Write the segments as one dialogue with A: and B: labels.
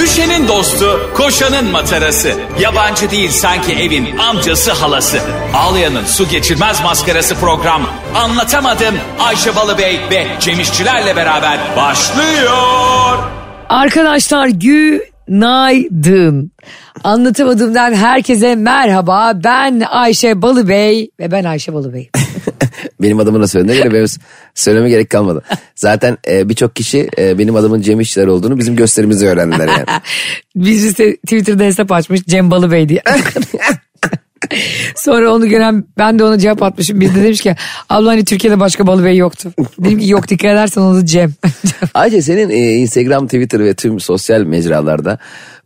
A: Ayşe'nin dostu, koşanın matarası. Yabancı değil sanki evin amcası halası. Ağlayan'ın su geçirmez maskarası program. Anlatamadım Ayşe Balıbey ve Cemişçilerle beraber başlıyor.
B: Arkadaşlar günaydın. Anlatamadığımdan herkese merhaba. Ben Ayşe Balıbey ve ben Ayşe Balıbey.
C: Benim adımın da söylediğine göre benim söyleme gerek kalmadı. Zaten e, birçok kişi e, benim adımın Cem İşçiler olduğunu bizim gösterimizde öğrendiler yani.
B: Biz işte Twitter'da hesap açmış Cem Balıbey diye. Sonra onu gören ben de ona cevap atmışım. Bir de demiş ki abla hani Türkiye'de başka Balıbey yoktu. Dedim ki yok dikkat edersen onu Cem.
C: Ayrıca senin e, Instagram, Twitter ve tüm sosyal mecralarda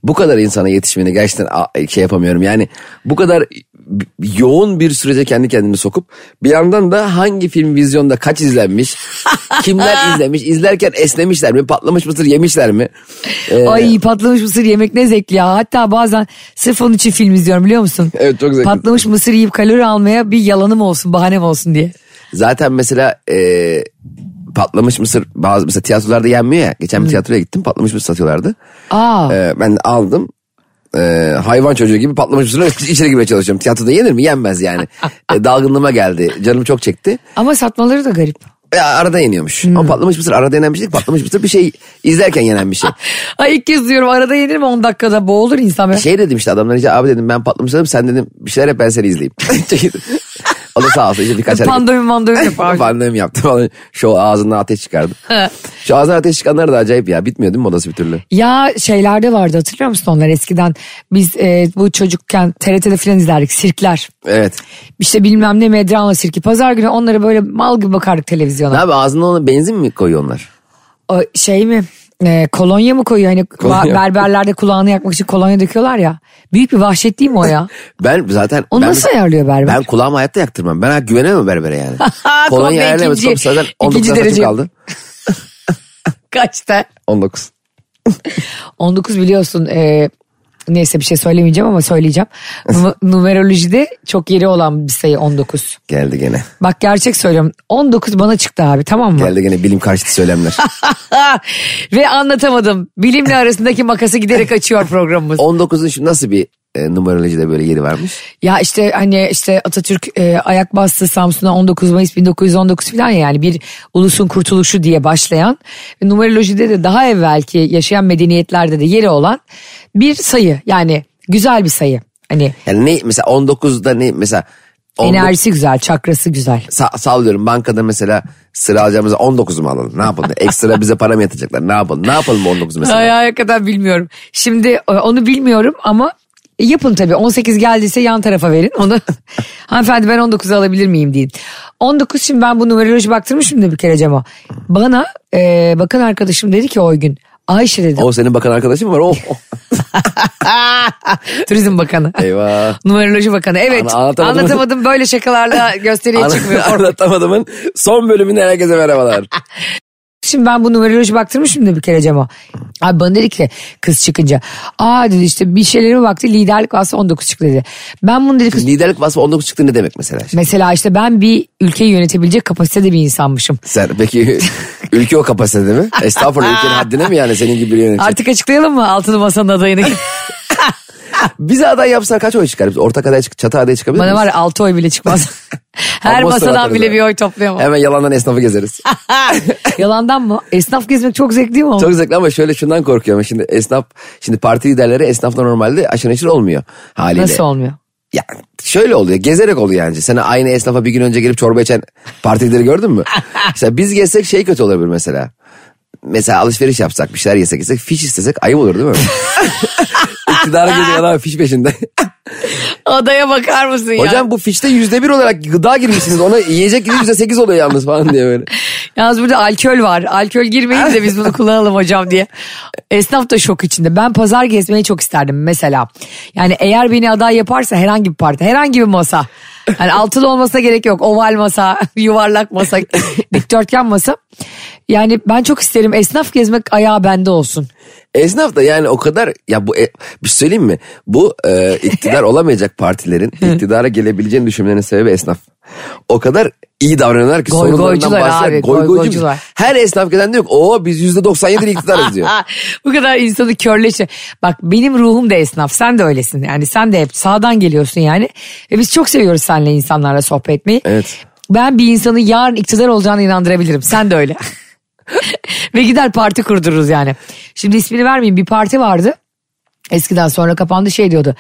C: bu kadar insana yetişmeni gerçekten a- şey yapamıyorum. Yani bu kadar yoğun bir sürece kendi kendimi sokup bir yandan da hangi film vizyonda kaç izlenmiş, kimler izlemiş, izlerken esnemişler mi, patlamış mısır yemişler mi? Ee,
B: Ay patlamış mısır yemek ne zevkli ya. Hatta bazen sırf onun için film izliyorum biliyor musun?
C: Evet, çok zevkli.
B: Patlamış mısır yiyip kalori almaya bir yalanım olsun bahanem olsun diye.
C: Zaten mesela e, patlamış mısır bazı mesela tiyatrolarda yenmiyor ya. Geçen bir tiyatroya gittim patlamış mısır satıyorlardı.
B: Aa.
C: E, ben aldım. E, hayvan çocuğu gibi patlamış mısırı içeri girmeye çalışıyorum. Tiyatroda yenir mi? Yenmez yani. E, dalgınlığıma geldi. Canım çok çekti.
B: Ama satmaları da garip.
C: E, arada yeniyormuş. Ama patlamış mısır arada yenen bir şey değil. Patlamış mısır bir şey izlerken yenen bir şey.
B: Ay ilk kez diyorum arada yenir mi 10 dakikada boğulur insan. Be.
C: Şey dedim işte adamlara işte abi dedim ben patlamış mısırım sen dedim bir şeyler yap ben seni izleyeyim. o da sağ olsun işte birkaç hareket-
B: Pandomim mandomim yapar.
C: Pandemi yaptı falan. Şu ağzından ateş çıkardım. Şu ağzından ateş çıkanlar da acayip ya. Bitmiyor değil mi odası bir türlü?
B: Ya şeylerde vardı hatırlıyor musun onlar eskiden biz e, bu çocukken TRT'de filan izlerdik sirkler.
C: Evet.
B: İşte bilmem ne Medrano sirki. Pazar günü onlara böyle mal gibi bakardık
C: Ne
B: televizyona.
C: abi ağzına ona benzin mi koyuyor onlar?
B: O şey mi e, kolonya mı koyuyor hani ba-
C: Kolonya.
B: berberlerde kulağını yakmak için kolonya döküyorlar ya. Büyük bir vahşet değil mi o ya?
C: Ben zaten...
B: Onu
C: ben,
B: nasıl ayarlıyor berber?
C: Ben kulağımı hayatta yaktırmam. Ben ha- güvenemem berbere yani.
B: Komple
C: Kolonya ayarlayamaz.
B: ikinci-
C: Komple zaten 19
B: ikinci
C: tane saçım
B: derece.
C: kaldı.
B: Kaçta?
C: 19.
B: 19 biliyorsun e, neyse bir şey söylemeyeceğim ama söyleyeceğim. Nu- numerolojide çok yeri olan bir sayı 19.
C: Geldi gene.
B: Bak gerçek söylüyorum 19 bana çıktı abi tamam mı? Ah!
C: Geldi gene bilim karşıtı söylemler.
B: Ve anlatamadım. Bilimle arasındaki makası giderek açıyor programımız.
C: 19'un şu nasıl bir e, numarolojide böyle yeri varmış?
B: Ya işte hani işte Atatürk e, ayak bastı Samsun'a 19 Mayıs 1919 falan ya yani bir ulusun kurtuluşu diye başlayan ve numerolojide de daha evvelki yaşayan medeniyetlerde de yeri olan bir sayı yani güzel bir sayı. Hani
C: Yani ne mesela 19'da ne mesela... 19
B: enerjisi güzel, çakrası güzel.
C: Sa- sallıyorum bankada mesela sıra alacağımızda 19 mu alalım? Ne yapalım? Ekstra bize para mı yatacaklar? Ne yapalım? Ne yapalım 19 mesela?
B: Ay ay, kadar bilmiyorum. Şimdi e, onu bilmiyorum ama yapın tabii. 18 geldiyse yan tarafa verin. Onu hanımefendi ben 19'u alabilir miyim deyin. 19 şimdi ben bu numeroloji baktırmışım da bir kere Cemo. Bana e, bakın arkadaşım dedi ki o gün. Ayşe dedi.
C: O senin bakan arkadaşın mı var? Oh, oh.
B: Turizm Bakanı.
C: Eyvah.
B: Numeroloji Bakanı. Evet.
C: Ana- anlatamadım.
B: Anlatamadım böyle şakalarla gösteriye çıkmıyor.
C: Ana- Anlatamadımın son bölümünden herkese merhabalar.
B: Şimdi ben bu numeroloji baktırmışım da bir kere Cemo. Abi bana dedi ki kız çıkınca. Aa dedi işte bir şeylere baktı liderlik vasfı 19 çıktı dedi. Ben bunu dedi kız
C: Liderlik vasfı 19 çıktı ne demek mesela?
B: Mesela işte ben bir ülkeyi yönetebilecek kapasitede bir insanmışım.
C: Sen peki ülke o kapasitede mi? Estağfurullah ülkenin haddine mi yani senin gibi bir yönetici?
B: Artık açıklayalım mı altılı masanın adayını?
C: Bize aday yapsalar kaç oy çıkar? Biz ortak aday çık, çatı aday çıkabilir
B: Bana
C: miyiz?
B: var ya altı oy bile çıkmaz. Her
C: Ama
B: masadan
C: sıra
B: bile
C: tabii.
B: bir oy toplayamam.
C: Hemen yalandan esnafı gezeriz.
B: Yalandan mı? Esnaf gezmek çok zevkli değil mi? oğlum?
C: Çok zevkli ama şöyle şundan korkuyorum. Şimdi esnaf, şimdi parti liderleri esnafla normalde aşırı neşir olmuyor haliyle.
B: Nasıl olmuyor?
C: Ya şöyle oluyor gezerek oluyor yani. Sen aynı esnafa bir gün önce gelip çorba içen partileri gördün mü? mesela biz gezsek şey kötü olabilir mesela. Mesela alışveriş yapsak bir şeyler yesek yesek fiş istesek ayıp olur değil mi? İktidara gidiyor adam fiş peşinde.
B: Adaya bakar mısın ya?
C: Hocam bu fişte yüzde bir olarak gıda girmişsiniz. Ona yiyecek gibi yüzde sekiz oluyor yalnız falan diye böyle.
B: Yalnız burada alkol var. Alkol girmeyin de biz bunu kullanalım hocam diye. Esnaf da şok içinde. Ben pazar gezmeyi çok isterdim mesela. Yani eğer beni aday yaparsa herhangi bir parti, herhangi bir masa. Yani altılı olmasına gerek yok. Oval masa, yuvarlak masa, dikdörtgen masa. Yani ben çok isterim esnaf gezmek ayağı bende olsun.
C: Esnaf da yani o kadar ya bu e, bir şey söyleyeyim mi? Bu e, iktidar olamayacak partilerin iktidara gelebileceğini düşünmelerinin sebebi esnaf. O kadar iyi davranıyorlar ki
B: Goy
C: sorunlarından
B: goycular abi,
C: bahseder.
B: goy
C: Goy goycu-
B: goycular.
C: Her esnaf gelen diyor ki o biz yüzde doksan yedi iktidarız diyor.
B: Ha, Bu kadar insanı körleşe. Bak benim ruhum da esnaf. Sen de öylesin. Yani sen de hep sağdan geliyorsun yani. Ve biz çok seviyoruz seninle insanlarla sohbet etmeyi.
C: Evet.
B: Ben bir insanı yarın iktidar olacağına inandırabilirim. Sen de öyle. Ve gider parti kurdururuz yani. Şimdi ismini vermeyeyim. Bir parti vardı. Eskiden sonra kapandı şey diyordu.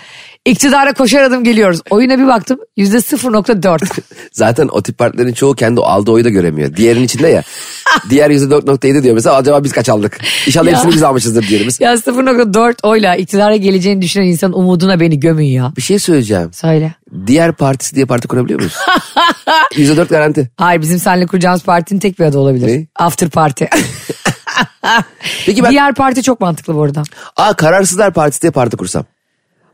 B: İktidara koşar adım geliyoruz. Oyuna bir baktım yüzde 0.4.
C: Zaten o tip partilerin çoğu kendi aldığı oyu da göremiyor. Diğerinin içinde ya. Diğer yüzde dört nokta yedi diyor mesela acaba biz kaç aldık? İnşallah
B: Ya.
C: hepsini biz almışızdır diğerimiz.
B: ya 0.4 oyla iktidara geleceğini düşünen insan umuduna beni gömün ya.
C: Bir şey söyleyeceğim.
B: Söyle.
C: Diğer partisi diye parti kurabiliyor muyuz? Yüzde dört garanti.
B: Hayır bizim seninle kuracağımız partinin tek bir adı olabilir.
C: Ne?
B: After Party.
C: Peki ben
B: Diğer parti çok mantıklı bu arada.
C: Aa kararsızlar partisi diye parti kursam.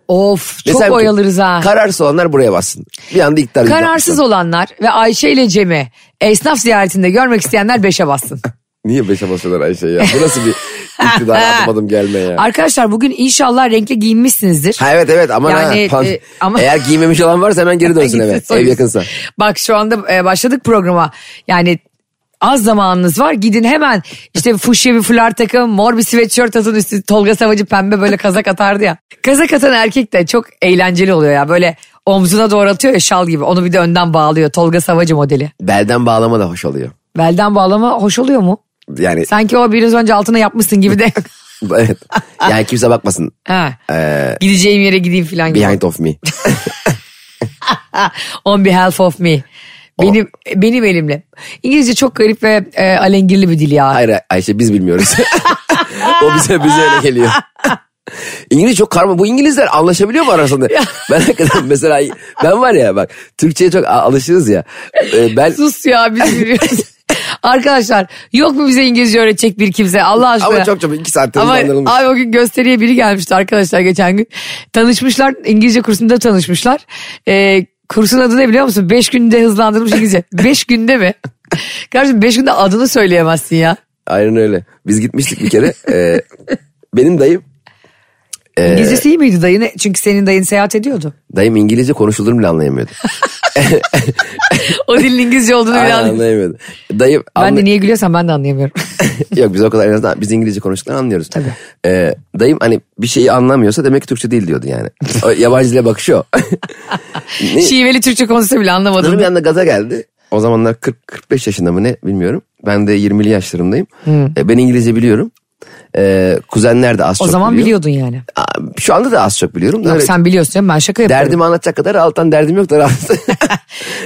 B: Of çok
C: Desem ki,
B: oyalarız ha.
C: Kararsız olanlar buraya bassın. Bir anda iktidar
B: Kararsız
C: ol.
B: olanlar ve Ayşe ile Cem'i esnaf ziyaretinde görmek isteyenler beşe bassın.
C: Niye beşe basıyorlar Ayşe ya? Bu nasıl bir iktidar adım adım gelme ya?
B: Arkadaşlar bugün inşallah renkli giyinmişsinizdir.
C: Ha evet evet aman
B: Yani,
C: ha. pan-
B: e, ama-
C: Eğer giymemiş olan varsa hemen geri dönsün eve.
B: Gitsin,
C: Ev
B: soyun.
C: yakınsa.
B: Bak şu anda e, başladık programa. Yani az zamanınız var. Gidin hemen işte fuşya bir fular takım, mor bir sweatshirt atın üstü. Tolga Savacı pembe böyle kazak atardı ya. Kazak atan erkek de çok eğlenceli oluyor ya. Böyle omzuna doğru atıyor ya şal gibi. Onu bir de önden bağlıyor. Tolga Savacı modeli.
C: Belden bağlama da hoş oluyor.
B: Belden bağlama hoş oluyor mu?
C: Yani
B: Sanki o biraz önce altına yapmışsın gibi de.
C: evet. Yani kimse bakmasın.
B: ha.
C: Ee,
B: Gideceğim yere gideyim falan gibi.
C: behind of me.
B: Ah, On behalf of me. Benim
C: Oh.
B: benim elimle. İngilizce çok garip ve e, alengirli bir dil ya.
C: Hayır Ayşe biz bilmiyoruz. o bize bize öyle geliyor. İngiliz çok karma. Bu İngilizler anlaşabiliyor mu arasında? ben hakikaten mesela ben var ya bak Türkçe'ye çok a- alışırız ya. Ee, ben
B: Sus ya biz biliyoruz. Arkadaşlar yok mu bize İngilizce öğretecek bir kimse Allah aşkına.
C: ama çok çok iki saatte
B: Ama
C: anlarılmış.
B: abi o gün gösteriye biri gelmişti arkadaşlar geçen gün. Tanışmışlar İngilizce kursunda tanışmışlar. Ee, kursun adı ne biliyor musun? Beş günde hızlandırılmış İngilizce. Beş günde mi? Kardeşim beş günde adını söyleyemezsin ya.
C: Aynen öyle. Biz gitmiştik bir kere. Ee, benim dayım Ee,
B: İngilizcesi iyi miydi dayın? Çünkü senin dayın seyahat ediyordu.
C: dayım İngilizce konuşulur mu bile anlayamıyordu.
B: O dilin İngilizce olduğunu bile
C: Aynen
B: anlayamıyorum.
C: anlayamıyordu. Dayım
B: Ben
C: anla-
B: de niye gülüyorsam ben de anlayamıyorum.
C: Yok biz o kadar en azından biz İngilizce konuştuklarını anlıyoruz. Tabii. dayım hani bir şeyi anlamıyorsa demek ki Türkçe değil diyordu yani. O yabancı dile bakışıyor. Ne-
B: Şiveli Türkçe konuşsa bile
C: Kadın bir
B: anlamadım.
C: anda gaza geldi. O zamanlar 40-45 yaşında mı ne bilmiyorum. Ben de 20'li yaşlarındayım. E, Ben İngilizce biliyorum. E, kuzenler de az
B: Hmm. O
C: çok
B: zaman
C: biliyor.
B: biliyordun yani.
C: Aa, Şu anda da az çok biliyorum. da
B: Yok
C: öyle
B: sen biliyorsun canım, ben şaka yapıyorum.
C: Derdimi anlatacak kadar alttan derdim yok da rahat.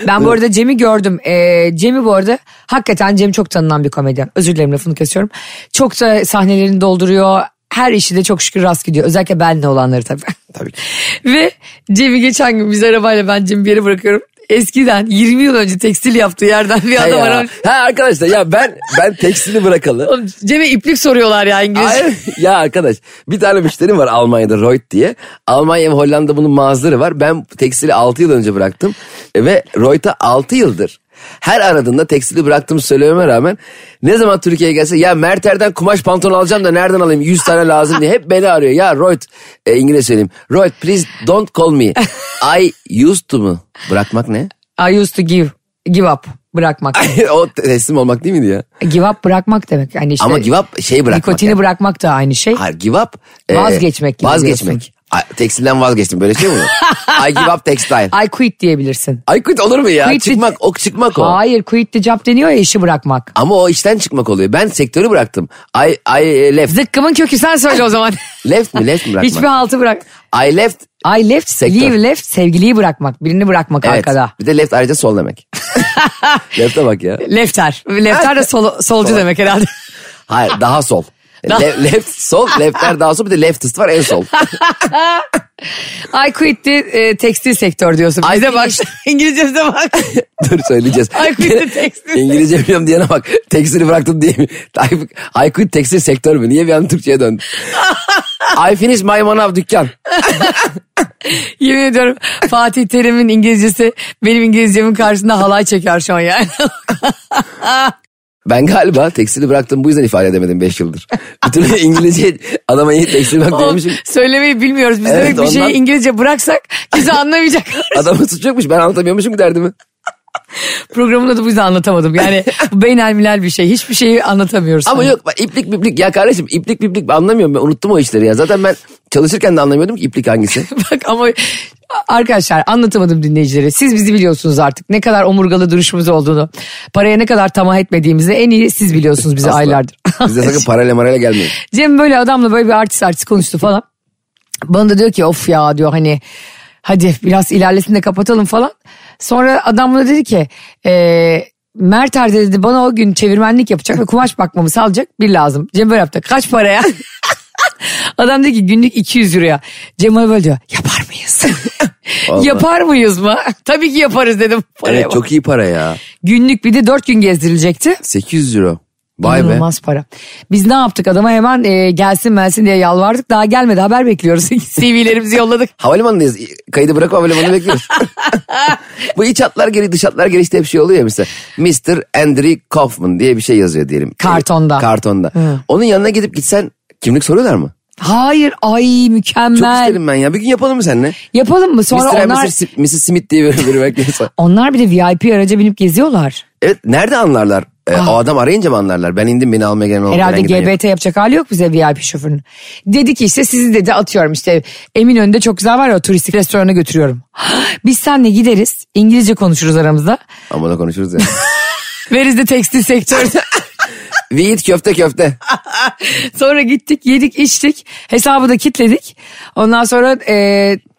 B: Ben bu arada Cem'i gördüm. Ee, Cem'i bu arada hakikaten Cem çok tanınan bir komedyen. Özür dilerim lafını kesiyorum. Çok da sahnelerini dolduruyor. Her işi de çok şükür rast gidiyor. Özellikle benle olanları tabii.
C: Tabii ki.
B: Ve Cem'i geçen gün biz arabayla ben Cem'i bir yere bırakıyorum. Eskiden 20 yıl önce tekstil yaptığı yerden bir adam
C: ha, ya.
B: aramış.
C: ha arkadaşlar ya ben ben tekstili bırakalı.
B: Oğlum Cem'e iplik soruyorlar ya İngilizce.
C: Hayır, ya arkadaş bir tane müşterim var Almanya'da Reut diye. Almanya ve Hollanda bunun mağazaları var. Ben tekstili 6 yıl önce bıraktım E, ve Reut'a 6 yıldır her aradığında tekstili bıraktığımı söylememe rağmen ne zaman Türkiye'ye gelse ya Merter'den kumaş pantolon alacağım da nereden alayım 100 tane lazım diye hep beni arıyor. Ya Reut e, İngilizce söyleyeyim. Reut please don't call me. I used to mu? Bırakmak ne?
B: I used to give. Give up. Bırakmak.
C: o teslim olmak değil miydi ya?
B: give up bırakmak demek. Yani işte
C: Ama give up şey bırakmak.
B: nikotini
C: yani.
B: bırakmak da aynı şey.
C: Hayır give up. e,
B: Vazgeçmek gibi diyorsun.
C: Vazgeçmek. A- Tekstilden vazgeçtim böyle şey mi? olur? I give up textile.
B: I quit diyebilirsin.
C: I quit olur mu ya?
B: Quit the-
C: çıkmak o çıkmak o.
B: Hayır quit the job deniyor ya işi bırakmak.
C: Ama o işten çıkmak oluyor. Ben sektörü bıraktım. I, I left.
B: Zıkkımın kökü sen söyle o zaman.
C: Left mi? Left mi bırakmak?
B: Hiçbir haltı bırak.
C: I left.
B: I left,
C: Sektör.
B: leave left, sevgiliyi bırakmak, birini bırakmak
C: Evet.
B: arkada.
C: Bir de left ayrıca sol demek. Left'e bak ya.
B: Lefter. Lefter de sol- solcu demek herhalde.
C: Hayır daha sol. Le- left sol, leftler daha sol bir de leftist var en sol.
B: I quit the e, tekstil sektör diyorsun.
C: I
B: Bize bak.
C: finished-
B: İngilizcemize bak.
C: Dur söyleyeceğiz.
B: I quit the tekstil.
C: İngilizce biliyorum diyene bak. Tekstili bıraktım diye mi? I, I quit tekstil sektör mü? Niye bir an Türkçe'ye döndü? I finish my manav dükkan.
B: Yemin ediyorum Fatih Terim'in İngilizcesi benim İngilizcemin karşısında halay çeker şu an yani.
C: Ben galiba tekstili bıraktım bu yüzden ifade edemedim 5 yıldır. Bütün İngilizce adama iyi tekstili bırak
B: O,
C: demişim.
B: söylemeyi bilmiyoruz. Biz
C: Evet,
B: demek bir şeyi
C: ondan-
B: İngilizce bıraksak kimse anlamayacak.
C: Adamın suçu yokmuş ben anlatamıyormuşum ki derdimi.
B: Programın adı bu yüzden anlatamadım. Yani beynelmiler bir şey. Hiçbir şeyi anlatamıyoruz. Hani
C: Ama
B: sana.
C: yok bak, iplik biplik ya kardeşim iplik biplik anlamıyorum ben unuttum o işleri ya. Zaten ben çalışırken de anlamıyordum ki iplik hangisi.
B: Bak ama arkadaşlar anlatamadım dinleyicilere. Siz bizi biliyorsunuz artık. Ne kadar omurgalı duruşumuz olduğunu. Paraya ne kadar tamah etmediğimizi en iyi siz biliyorsunuz bize
C: Asla.
B: aylardır.
C: Bize sakın parayla marayla gelmeyin.
B: Cem böyle adamla böyle bir artist artist konuştu falan. Bana da diyor ki of ya diyor hani hadi biraz ilerlesin de kapatalım falan. Sonra adam bana dedi ki e, Mert Erde dedi bana o gün çevirmenlik yapacak ve kumaş bakmamı sağlayacak bir lazım. Cem böyle yaptı kaç paraya? Adam dedi ki günlük 200 euroya. Cem bana böyle diyor yapar mıyız?
C: Vallahi.
B: yapar mıyız mı? Tabii ki yaparız dedim. Paraya
C: Evet
B: bak.
C: çok iyi para ya.
B: Günlük bir de 4 gün gezdirilecekti.
C: 800 euro. Vay be.
B: İnanılmaz para. Biz ne yaptık adama hemen e, gelsin gelsin diye yalvardık. Daha gelmedi haber bekliyoruz. CV'lerimizi yolladık.
C: Havalimanındayız. Kaydı bırakıp havalimanını bekliyoruz. Bu iç hatlar geri dış hatlar geri işte hep şey oluyor ya mesela. Mr. Andrew Kaufman diye bir şey yazıyor diyelim.
B: Kartonda.
C: Ee, Kartonda. Onun yanına gidip gitsen kimlik soruyorlar mı?
B: Hayır ay
C: Çok
B: mükemmel.
C: isterim ben ya. Bir gün yapalım mı seninle?
B: Yapalım mı? Sonra
C: Mr. and
B: onlar
C: Mrs. Mrs. Smith diye bir biri bekliyorsa.
B: onlar bir de VIP araca binip geziyorlar.
C: Evet nerede anlarlar? Ee, o adam arayınca mı anlarlar? Ben indim beni almaya gelen olmayan
B: Ah. Herhalde
C: giden yok.
B: GBT yapacak hali yok bize VIP şoförünün. Dedi ki işte sizi dedi atıyorum işte Eminönü'nde çok güzel var ya o turistik restorana götürüyorum. Biz seninle gideriz İngilizce konuşuruz aramızda.
C: Ama da konuşuruz ya.
B: Veriz de tekstil sektörde.
C: Viit köfte köfte.
B: Sonra gittik yedik içtik hesabı da kitledik. Ondan sonra e,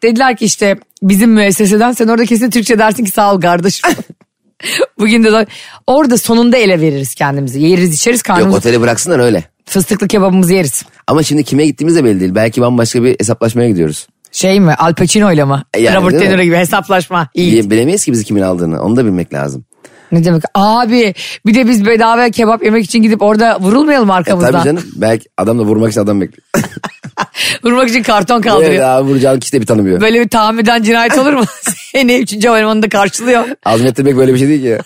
B: dediler ki işte bizim müesseseden sen orada kesin Türkçe dersin ki sağ ol kardeşim. Bugün de orada sonunda ele veririz kendimizi. Yeriz içeriz
C: Yok
B: karnımızı
C: oteli bıraksınlar öyle.
B: fıstıklı kebabımızı yeriz.
C: Ama şimdi kime gittiğimiz de belli değil. Belki bambaşka bir hesaplaşmaya gidiyoruz.
B: Şey mi Al Pacino ile mi?
C: E yani
B: Robert
C: değil
B: De
C: mi?
B: Niro gibi hesaplaşma. İyi.
C: Bile- Bilemeyiz ki bizi kimin aldığını. Onu da bilmek lazım.
B: Ne demek abi bir de biz bedava kebap yemek için gidip orada vurulmayalım arkamızdan.
C: E, Tabii canım. Belki adam da vurmak için adam bekliyor.
B: Vurmak için karton
C: Evet,
B: kaldırıyor.
C: daha vuracağın kişi de bir tanımıyor. Böyle...
B: Böyle bir tahammüden cinayet olur mu? Seni 3. havalimanında karşılıyor.
C: Azmettirmek böyle bir şey değil ki.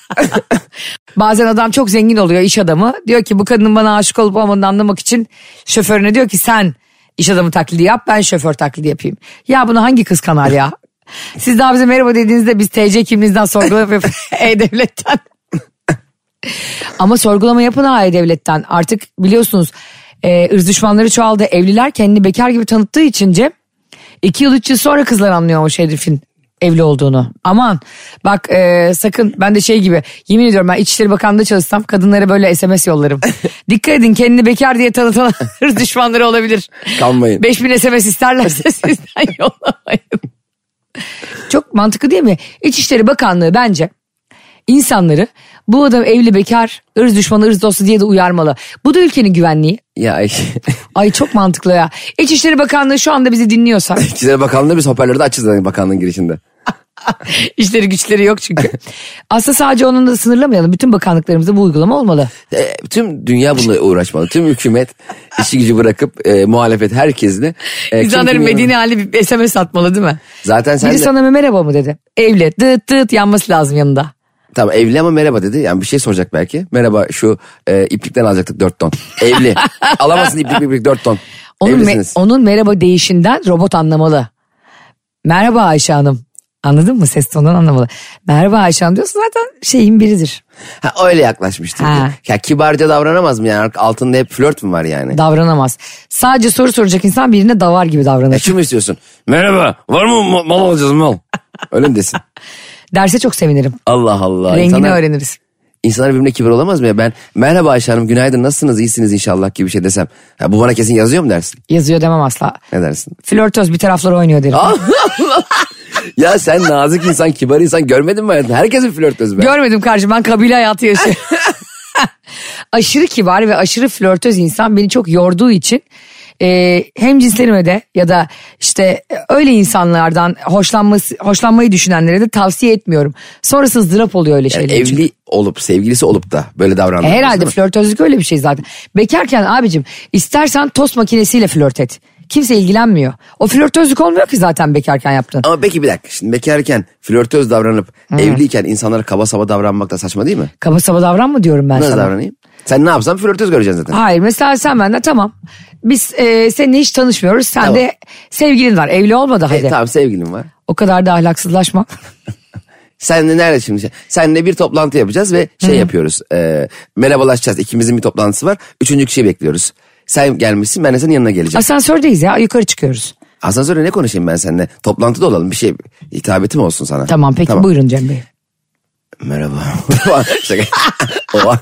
B: Bazen adam çok zengin oluyor iş adamı. Diyor ki bu kadının bana aşık olup olmadığını anlamak için şoförüne diyor ki sen iş adamı taklidi yap ben şoför taklidi yapayım. Ya bunu hangi kız kanar ya? Siz daha bize merhaba dediğinizde biz TC kimliğinizden sorgulama yapıp E-Devlet'ten. Ama sorgulama yapın ha E-Devlet'ten. Artık biliyorsunuz e, ırz düşmanları çoğaldı. Evliler kendini bekar gibi tanıttığı için Cem iki yıl üç yıl sonra kızlar anlıyormuş herifin evli olduğunu. Aman bak e, sakın ben de şey gibi yemin ediyorum ben İçişleri Bakanlığı'nda çalışsam kadınlara böyle SMS yollarım. Dikkat edin kendini bekar diye tanıtan hırs düşmanları olabilir.
C: Kanmayın.
B: 5000 SMS isterlerse sizden yollamayın. Çok mantıklı değil mi? İçişleri Bakanlığı bence insanları bu adam evli bekar, ırz düşmanı, ırz dostu diye de uyarmalı. Bu da ülkenin güvenliği.
C: ya Ayşe.
B: Ay çok mantıklı ya. İçişleri Bakanlığı şu anda bizi dinliyorsa.
C: İçişleri Bakanlığı biz hoparlörü de açız zaten bakanlığın girişinde.
B: İşleri güçleri yok çünkü. Aslında sadece onunla sınırlamayalım. Bütün bakanlıklarımızda bu uygulama olmalı.
C: E, tüm dünya bununla uğraşmalı. Tüm hükümet işi gücü bırakıp e, muhalefet herkesle. E,
B: İnsanların
C: kim kimin-
B: medeni hali bir SMS atmalı değil mi?
C: Zaten sen
B: Biri
C: de
B: sana merhaba mı dedi. Evli dıt dıt yanması lazım yanında.
C: tamam evli ama merhaba dedi. Yani bir şey soracak belki. Merhaba şu e, iplikten alacaktık 4 ton. Evli. Alamazsın iplik iplik 4 ton.
B: Onun, me-
C: Evlisiniz.
B: onun merhaba deyişinden robot anlamalı. Merhaba Ayşe Hanım. Anladın mı? Ses tonundan anlamalı. Merhaba Ayşe Hanım diyorsun zaten şeyin biridir.
C: Ha, öyle yaklaşmıştı.
B: Ha.
C: Ya kibarca davranamaz mı yani? Altında hep flört mü var yani?
B: Davranamaz. Sadece soru soracak insan birine davar gibi
C: E
B: davranır.
C: şunu mu istiyorsun? Merhaba var mı ma- mal alacağız mal? Öyle mi desin?
B: Derse çok sevinirim.
C: Allah Allah.
B: Rengini
C: İnsanlar-
B: öğreniriz.
C: İnsanlar birbirine kibar olamaz mı ya? Ben merhaba Ayşe Hanım günaydın nasılsınız iyisiniz inşallah gibi bir şey desem. Ya bu bana kesin yazıyor mu dersin?
B: Yazıyor demem asla.
C: Ne dersin?
B: Flörtöz bir tarafları oynuyor derim.
C: Ya sen nazik insan kibar insan görmedin mi hayatında? Herkesin flörtöz be.
B: Görmedim kardeşim ben kabile hayatı yaşıyorum. aşırı kibar ve aşırı flörtöz insan beni çok yorduğu için e, hem cinslerime de ya da işte öyle insanlardan hoşlanması, hoşlanmayı düşünenlere de tavsiye etmiyorum. Sonrası ızdırap oluyor öyle şeyler. için.
C: Evli olup sevgilisi olup da
B: E,
C: böyle davranmak.
B: Herhalde flörtözlük öyle bir şey zaten. Bekarken abicim istersen tost makinesiyle flört et. kimse ilgilenmiyor. O flörtözlük olmuyor ki zaten bekarken yaptığın.
C: Ama peki bir dakika şimdi bekarken flörtöz davranıp evliyken insanlara kaba saba davranmak da saçma değil mi?
B: Kaba saba davranma diyorum ben
C: Nasıl
B: sana.
C: davranayım? Sen ne yapsan flörtöz göreceksin zaten.
B: Hayır mesela sen benden tamam. Biz e, seninle hiç tanışmıyoruz. Sen
C: Tamam.
B: de sevgilin var. Evli olmadı hadi.
C: E, tamam sevgilim var.
B: O kadar da ahlaksızlaşma.
C: Senle nerede şimdi? Senle bir toplantı yapacağız ve şey yapıyoruz. E, merhabalaşacağız. İkimizin bir toplantısı var. Üçüncü kişiyi bekliyoruz. Sen gelmişsin ben de senin yanına geleceğim.
B: Asansördeyiz ya yukarı çıkıyoruz.
C: Asansörde ne konuşayım ben seninle? Toplantıda olalım bir şey hitabetim olsun sana.
B: Tamam peki buyurun Cem Bey.
C: Merhaba. Şaka. O-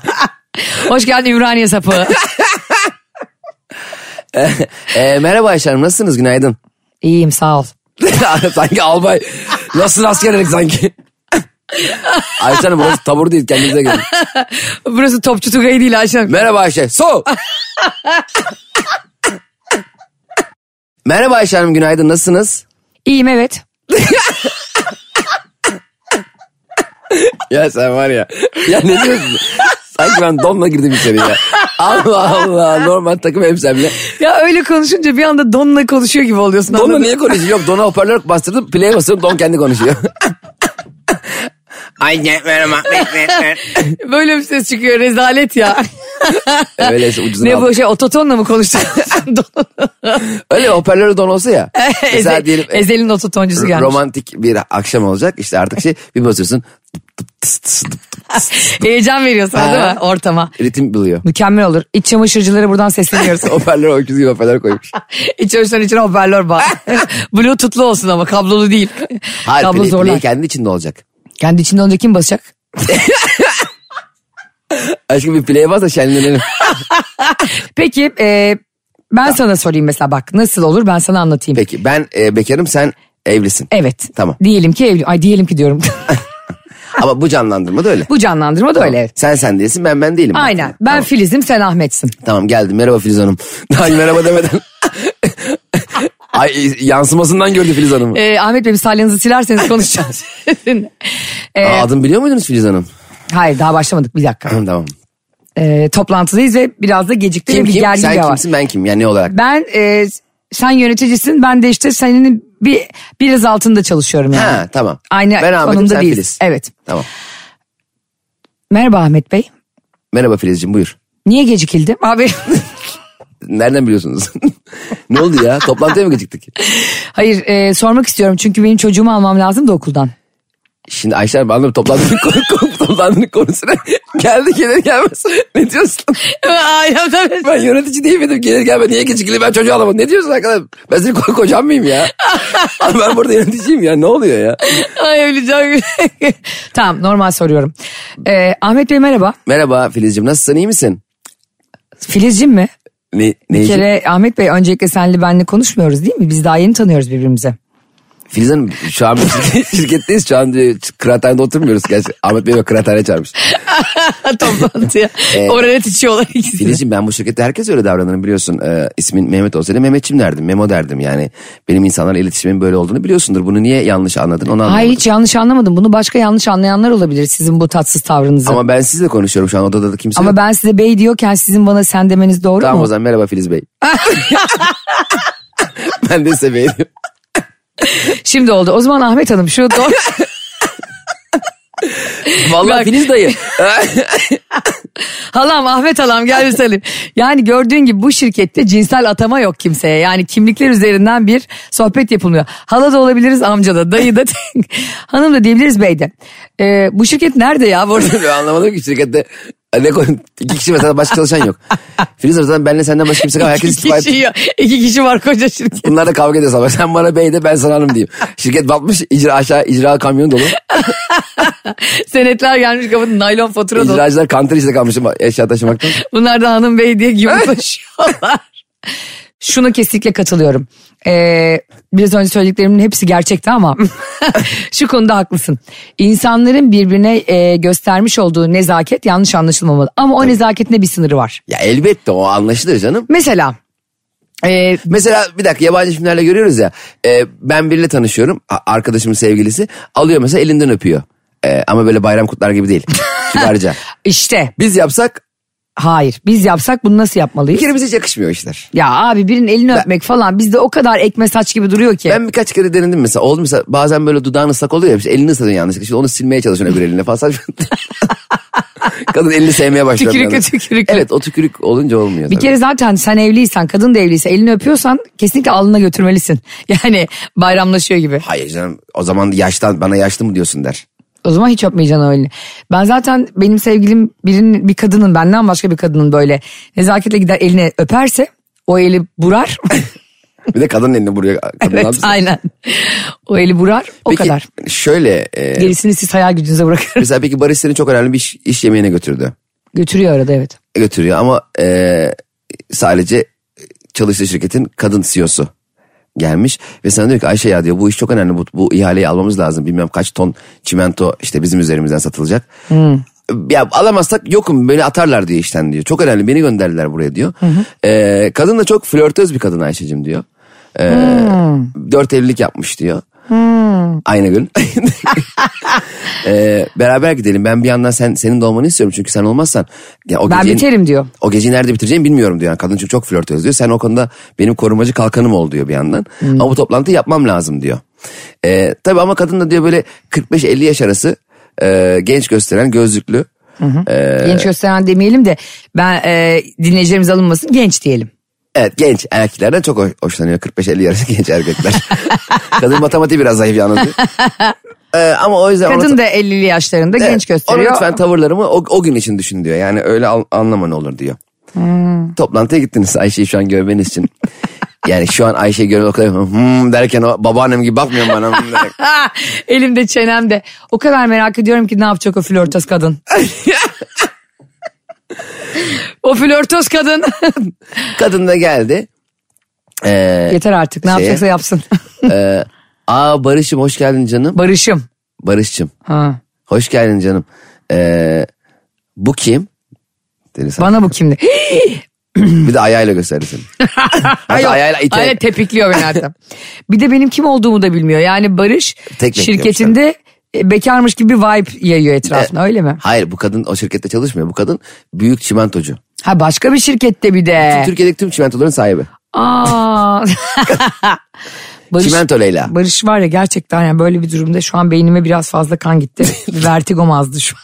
B: Hoş geldin Ümraniye sapı.
C: E, merhaba Ayşe Hanım nasılsınız günaydın.
B: İyiyim sağ ol.
C: sanki albay. Nasıl askerlik sanki? Ayşe Hanım burası tabur değil kendinize gelin.
B: Burası Topçu Tugay değil Ayşe. Hanım.
C: Merhaba Ayşe. So. Merhaba Ayşe Hanım günaydın nasılsınız?
B: İyiyim evet.
C: Ya sen var ya. Ya ne diyorsun? Sanki ben donla girdim içeri ya. Allah Allah normal takım elbisemle.
B: Ya öyle konuşunca bir anda donla konuşuyor gibi oluyorsun.
C: Donla
B: anladın mı?
C: niye konuşuyor? Yok dona hoparlör bastırdım play'e basıyorum don kendi konuşuyor.
D: I get rid of my.
B: Böyle bir ses çıkıyor rezalet ya.
C: Öyle işte ucuzunu
B: ne
C: aldım.
B: bu şey ototonla mı konuştun? Don-
C: Öyle hoparlörü don olsa ya. mesela
B: Eze-
C: diyelim e,
B: Ezel'in ototoncusu gelmiş.
C: romantik bir akşam olacak. İşte artık şey bir basıyorsun
B: Heyecan veriyor sana değil
C: Ha.
B: mi ortama?
C: ritim buluyor.
B: Mükemmel olur. İç çamaşırcıları buradan sesleniyoruz.
C: Hoparlör öküz gibi hoparlör koymuş.
B: İç çamaşırın içine hoparlör bağ. Bluetooth'lu olsun ama kablolu değil.
C: Hayır
B: Kablo
C: play,
B: zorlar.
C: play kendi içinde olacak.
B: Kendi içinde olunca kim basacak?
C: Aşkım bir play'e bas da şenlenelim.
B: Peki e, ben sana sorayım mesela bak nasıl olur ben sana anlatayım.
C: Peki ben e, bekarım sen evlisin.
B: Evet.
C: Tamam.
B: Diyelim ki evli. Ay diyelim ki diyorum.
C: Ama bu canlandırma da öyle.
B: Bu canlandırma da öyle. evet.
C: Sen sen değilsin ben ben değilim.
B: Aynen. Ben
C: Tamam,
B: Filiz'im sen Ahmet'sin.
C: tamam geldim merhaba Filiz Hanım. Daha merhaba demeden. Ay yansımasından gördü Filiz Hanım'ı.
B: E, Ahmet Bey bir salyanızı silerseniz konuşacağız. E,
C: Aa, adını biliyor muydunuz Filiz Hanım?
B: hayır daha başlamadık bir dakika.
C: tamam.
B: E, toplantıdayız ve biraz da gecikti.
C: Kim
B: bir
C: kim?
B: gerginlik
C: Sen
B: var.
C: kimsin ben kim? Yani ne olarak?
B: Ben e, sen yöneticisin ben de işte senin bir biraz altında çalışıyorum yani.
C: Ha tamam.
B: Aynı
C: ben Ahmet'im,
B: konumda
C: sen
B: değiliz.
C: Filiz.
B: Evet.
C: Tamam.
B: Merhaba Ahmet Bey.
C: Merhaba Filizciğim buyur.
B: Niye gecikildim? Abi
C: Nereden biliyorsunuz? ne oldu ya? Toplantıya mı geciktik?
B: hayır e, sormak istiyorum çünkü benim çocuğumu almam lazım da okuldan.
C: Şimdi Ayşe Hanım anladım toplantının, konu, konu- toplantının konusuna geldi gelir gelmez. Ne diyorsun?
B: Aynen tabii.
C: Ben yönetici değil miydim? Gelir gelmez niye gecikili ben çocuğu alamadım. Ne diyorsun arkadaşım? Ben senin ko- kocan mıyım ya? Abi ben burada yöneticiyim ya ne oluyor ya?
B: Ay öleceğim. tamam normal soruyorum. E, Ahmet Bey merhaba.
C: Merhaba Filizciğim nasılsın iyi misin?
B: Filizcim mi?
C: Ne, ne
B: Bir kere Ahmet Bey öncelikle senle benle konuşmuyoruz değil mi? Biz daha yeni tanıyoruz birbirimizi.
C: Filiz Hanım şu an biz şirket- şirketteyiz şu an e, kıraathanede oturmuyoruz. Gerçi Ahmet Bey bak kıraathaneye çağırmış.
B: Toplantıya.
C: E,
B: Oraya içiyorlar ikisi.
C: Filizciğim ben bu şirkette herkes öyle davranırım biliyorsun. Ee, ismin Mehmet olsaydı Mehmetçim derdim, Memo derdim yani. Benim insanlarla iletişimin böyle olduğunu biliyorsundur. Bunu niye yanlış anladın onu anlamadım.
B: Hayır hiç yanlış anlamadım. Bunu başka yanlış anlayanlar olabilir sizin bu tatsız tavrınızı. Ama,
C: Ama ben sizle konuşuyorum şu an odada da kimse yok.
B: ben size bey diyorken sizin bana sen demeniz doğru
C: Tamam
B: mu?
C: o zaman merhaba Filiz Bey. ben de size beğeniyorum.
B: Şimdi oldu. O zaman Ahmet Hanım şu doğru.
C: Vallahi
B: Bak.
C: Filiz dayı.
B: halam Ahmet halam gel bir salim. Yani gördüğün gibi bu şirkette cinsel atama yok kimseye. Yani kimlikler üzerinden bir sohbet yapılmıyor. Hala da olabiliriz amca da dayı da hanım da diyebiliriz bey de. Ee, bu şirket nerede ya bu arada?
C: Ben Anlamadım ki şirkette. e, Ne konu? İki kişi mesela başka çalışan yok. Filiz Hanım zaten benle senden başka kimse kalmadı. Herkes
B: iki,
C: istifa etti.
B: kişi, ya- iki kişi var koca şirket.
C: Bunlar da kavga ediyor sabah. Sen bana bey de ben sana hanım diyeyim. Şirket batmış icra aşağı icra kamyonu dolu.
B: Senetler gelmiş kapının naylon fatura dolu.
C: İcracılar kantar işte kalmış ama eşya taşımaktan.
B: Bunlar da hanım bey diye yumruklaşıyorlar. Şuna kesinlikle katılıyorum. Ee, biraz önce söylediklerimin hepsi gerçekti ama şu konuda haklısın. İnsanların birbirine e, göstermiş olduğu nezaket yanlış anlaşılmamalı. Ama o nezaketin de bir sınırı var.
C: Ya elbette o anlaşılır canım.
B: Mesela e,
C: Mesela bir dakika yabancı filmlerle görüyoruz ya. E, ben biriyle tanışıyorum. a- Arkadaşımın sevgilisi. Alıyor mesela elinden Ee, öpüyor. E, ama böyle bayram kutlar gibi değil. Kibarca.
B: işte
C: Biz yapsak
B: Hayır. Biz yapsak bunu nasıl
C: Bir
B: yapmalıyız?
C: kere bize hiç yakışmıyor o işler.
B: Ya abi birinin elini öpmek falan bizde o kadar ekme saç gibi duruyor ki.
C: Ben birkaç kere denedim mesela. Oldu mesela bazen böyle dudağın ıslak oluyor ya. işte elini ısladın yanlışlıkla. Şimdi onu silmeye çalışıyorsun öbür eline falan. Saçma. Kadın elini sevmeye başlıyor. bir
B: Tükürüklü,
C: anda.
B: tükürüklü.
C: Evet o tükürük olunca olmuyor.
B: Bir
C: tabii.
B: kere zaten sen evliysen kadın da evliyse elini öpüyorsan kesinlikle alnına götürmelisin. Yani bayramlaşıyor gibi.
C: Hayır canım o zaman yaştan bana yaşlı mı diyorsun der.
B: O zaman hiç öpmeyeceksin o elini. Ben zaten benim sevgilim birinin bir kadının benden başka bir kadının böyle nezaketle gider elini öperse o eli burar.
C: Bir de kadın elini vuruyor. Kadın ne
B: evet
C: yapsın?
B: aynen. O eli burar o
C: Peki,
B: kadar.
C: Şöyle e,
B: Gerisini siz hayal gücünüze bırakın.
C: mesela peki Barış seni çok önemli bir iş, iş yemeğine götürdü.
B: Götürüyor arada evet.
C: Götürüyor ama e, sadece çalıştığı şirketin kadın E CEO'su gelmiş ve sana diyor ki Ayşe ya diyor bu iş çok önemli bu, bu ihaleyi almamız lazım bilmem kaç ton çimento işte bizim üzerimizden satılacak. Ya alamazsak yokum beni atarlar diyor işten diyor. Çok önemli beni gönderdiler buraya diyor. E, kadın da çok flörtöz bir kadın Ayşe'cim diyor. E, Dört evlilik yapmış diyor. Aynı gün. Ee, beraber gidelim. Ben bir yandan sen senin de olmanı istiyorum çünkü sen olmazsan ya o
B: Ben
C: geceyi-
B: biterim diyor.
C: O geceyi nerede bitireceğimi bilmiyorum diyor. Yani kadın çünkü çok flörtöz diyor. Sen o konuda benim korumacı kalkanım ol diyor bir yandan. Ama bu toplantıyı yapmam lazım diyor. Ee, tabii ama kadın da diyor böyle 45-50 yaş arası e, genç gösteren gözlüklü. Ee, E,
B: Genç gösteren demeyelim de ben e, dinleyicilerimiz alınmasın genç diyelim.
C: Evet genç erkeklerden çok hoş- hoşlanıyor 45-50 arası genç erkekler. Kadın matematiği biraz zayıf yalnız. Ee, ama o yüzden ona-
B: Kadın da 50'li yaşlarında
C: Evet,
B: genç gösteriyor.
C: E, Onu lütfen tavırlarımı o, o gün için düşün diyor. Yani öyle al, anlama ne olur diyor.
B: Hmm.
C: Toplantıya gittiniz Ayşe'yi şu an görmeniz için. yani şu an Ayşe'yi görmek o kadar hmm derken o babaannem gibi bakmıyor bana. hmm derken.
B: Ah, Elimde çenemde. O kadar merak ediyorum ki ne yapacak o flörtöz kadın. o flörtöz kadın.
C: Kadın da geldi. Ee,
B: Yeter artık ne
C: Şeye-
B: yapacaksa yapsın.
C: e, Aa Barış'ım hoş geldin canım.
B: Barış'ım.
C: Barış'cım
B: Ha.
C: hoş geldin canım. Ee, bu kim? Dedi sana.
B: Bana bu kimdi? Hmm.
C: Bir de ayağıyla gösterdi seni. Hatta ayağıyla ite.
B: Aynen tepikliyor beni hatta. bir de benim kim olduğumu da bilmiyor. Yani Barış
C: Tek bekliyormuş
B: şirketinde e, bekarmış gibi bir vibe yayıyor etrafına öyle mi?
C: Hayır bu kadın o şirkette çalışmıyor. Bu kadın büyük çimentocu.
B: Ha başka bir şirkette bir de.
C: Türkiye'deki tüm çimentoların sahibi.
B: Aa. Barış,
C: Çimento Leyla.
B: Barış var ya gerçekten yani böyle bir durumda şu an beynime biraz fazla kan gitti. Bir Vertigom azdı şu an.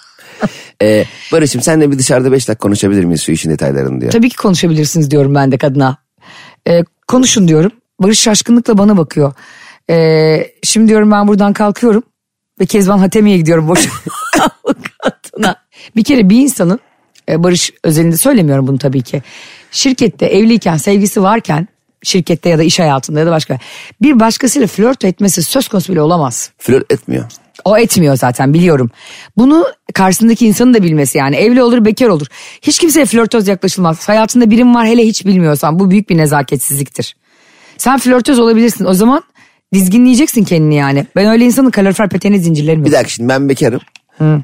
C: Ee, Barış'ım senle bir dışarıda 5 dakika konuşabilir miyiz şu işin detaylarını diyor.
B: Tabii ki konuşabilirsiniz diyorum ben de kadına. Ee, konuşun diyorum. Barış şaşkınlıkla bana bakıyor. Ee, şimdi diyorum ben buradan kalkıyorum. Ve Kezban Hatemi'ye gidiyorum boş avukatına. Bir kere bir insanın e, Barış özelinde söylemiyorum bunu tabii ki. Şirkette evliyken sevgisi varken şirkette ya da iş hayatında ya da başka bir başkasıyla flört etmesi söz konusu bile olamaz.
C: Flört etmiyor.
B: O etmiyor zaten biliyorum. Bunu karşısındaki insanın da bilmesi yani evli olur bekar olur. Hiç kimseye flörtöz yaklaşılmaz. Hayatında birim var hele hiç bilmiyorsan bu büyük bir nezaketsizliktir. Sen flörtöz olabilirsin o zaman dizginleyeceksin kendini yani. Ben öyle insanın kalorifer peteğine zincirlerim yok.
C: Bir dakika şimdi ben bekarım.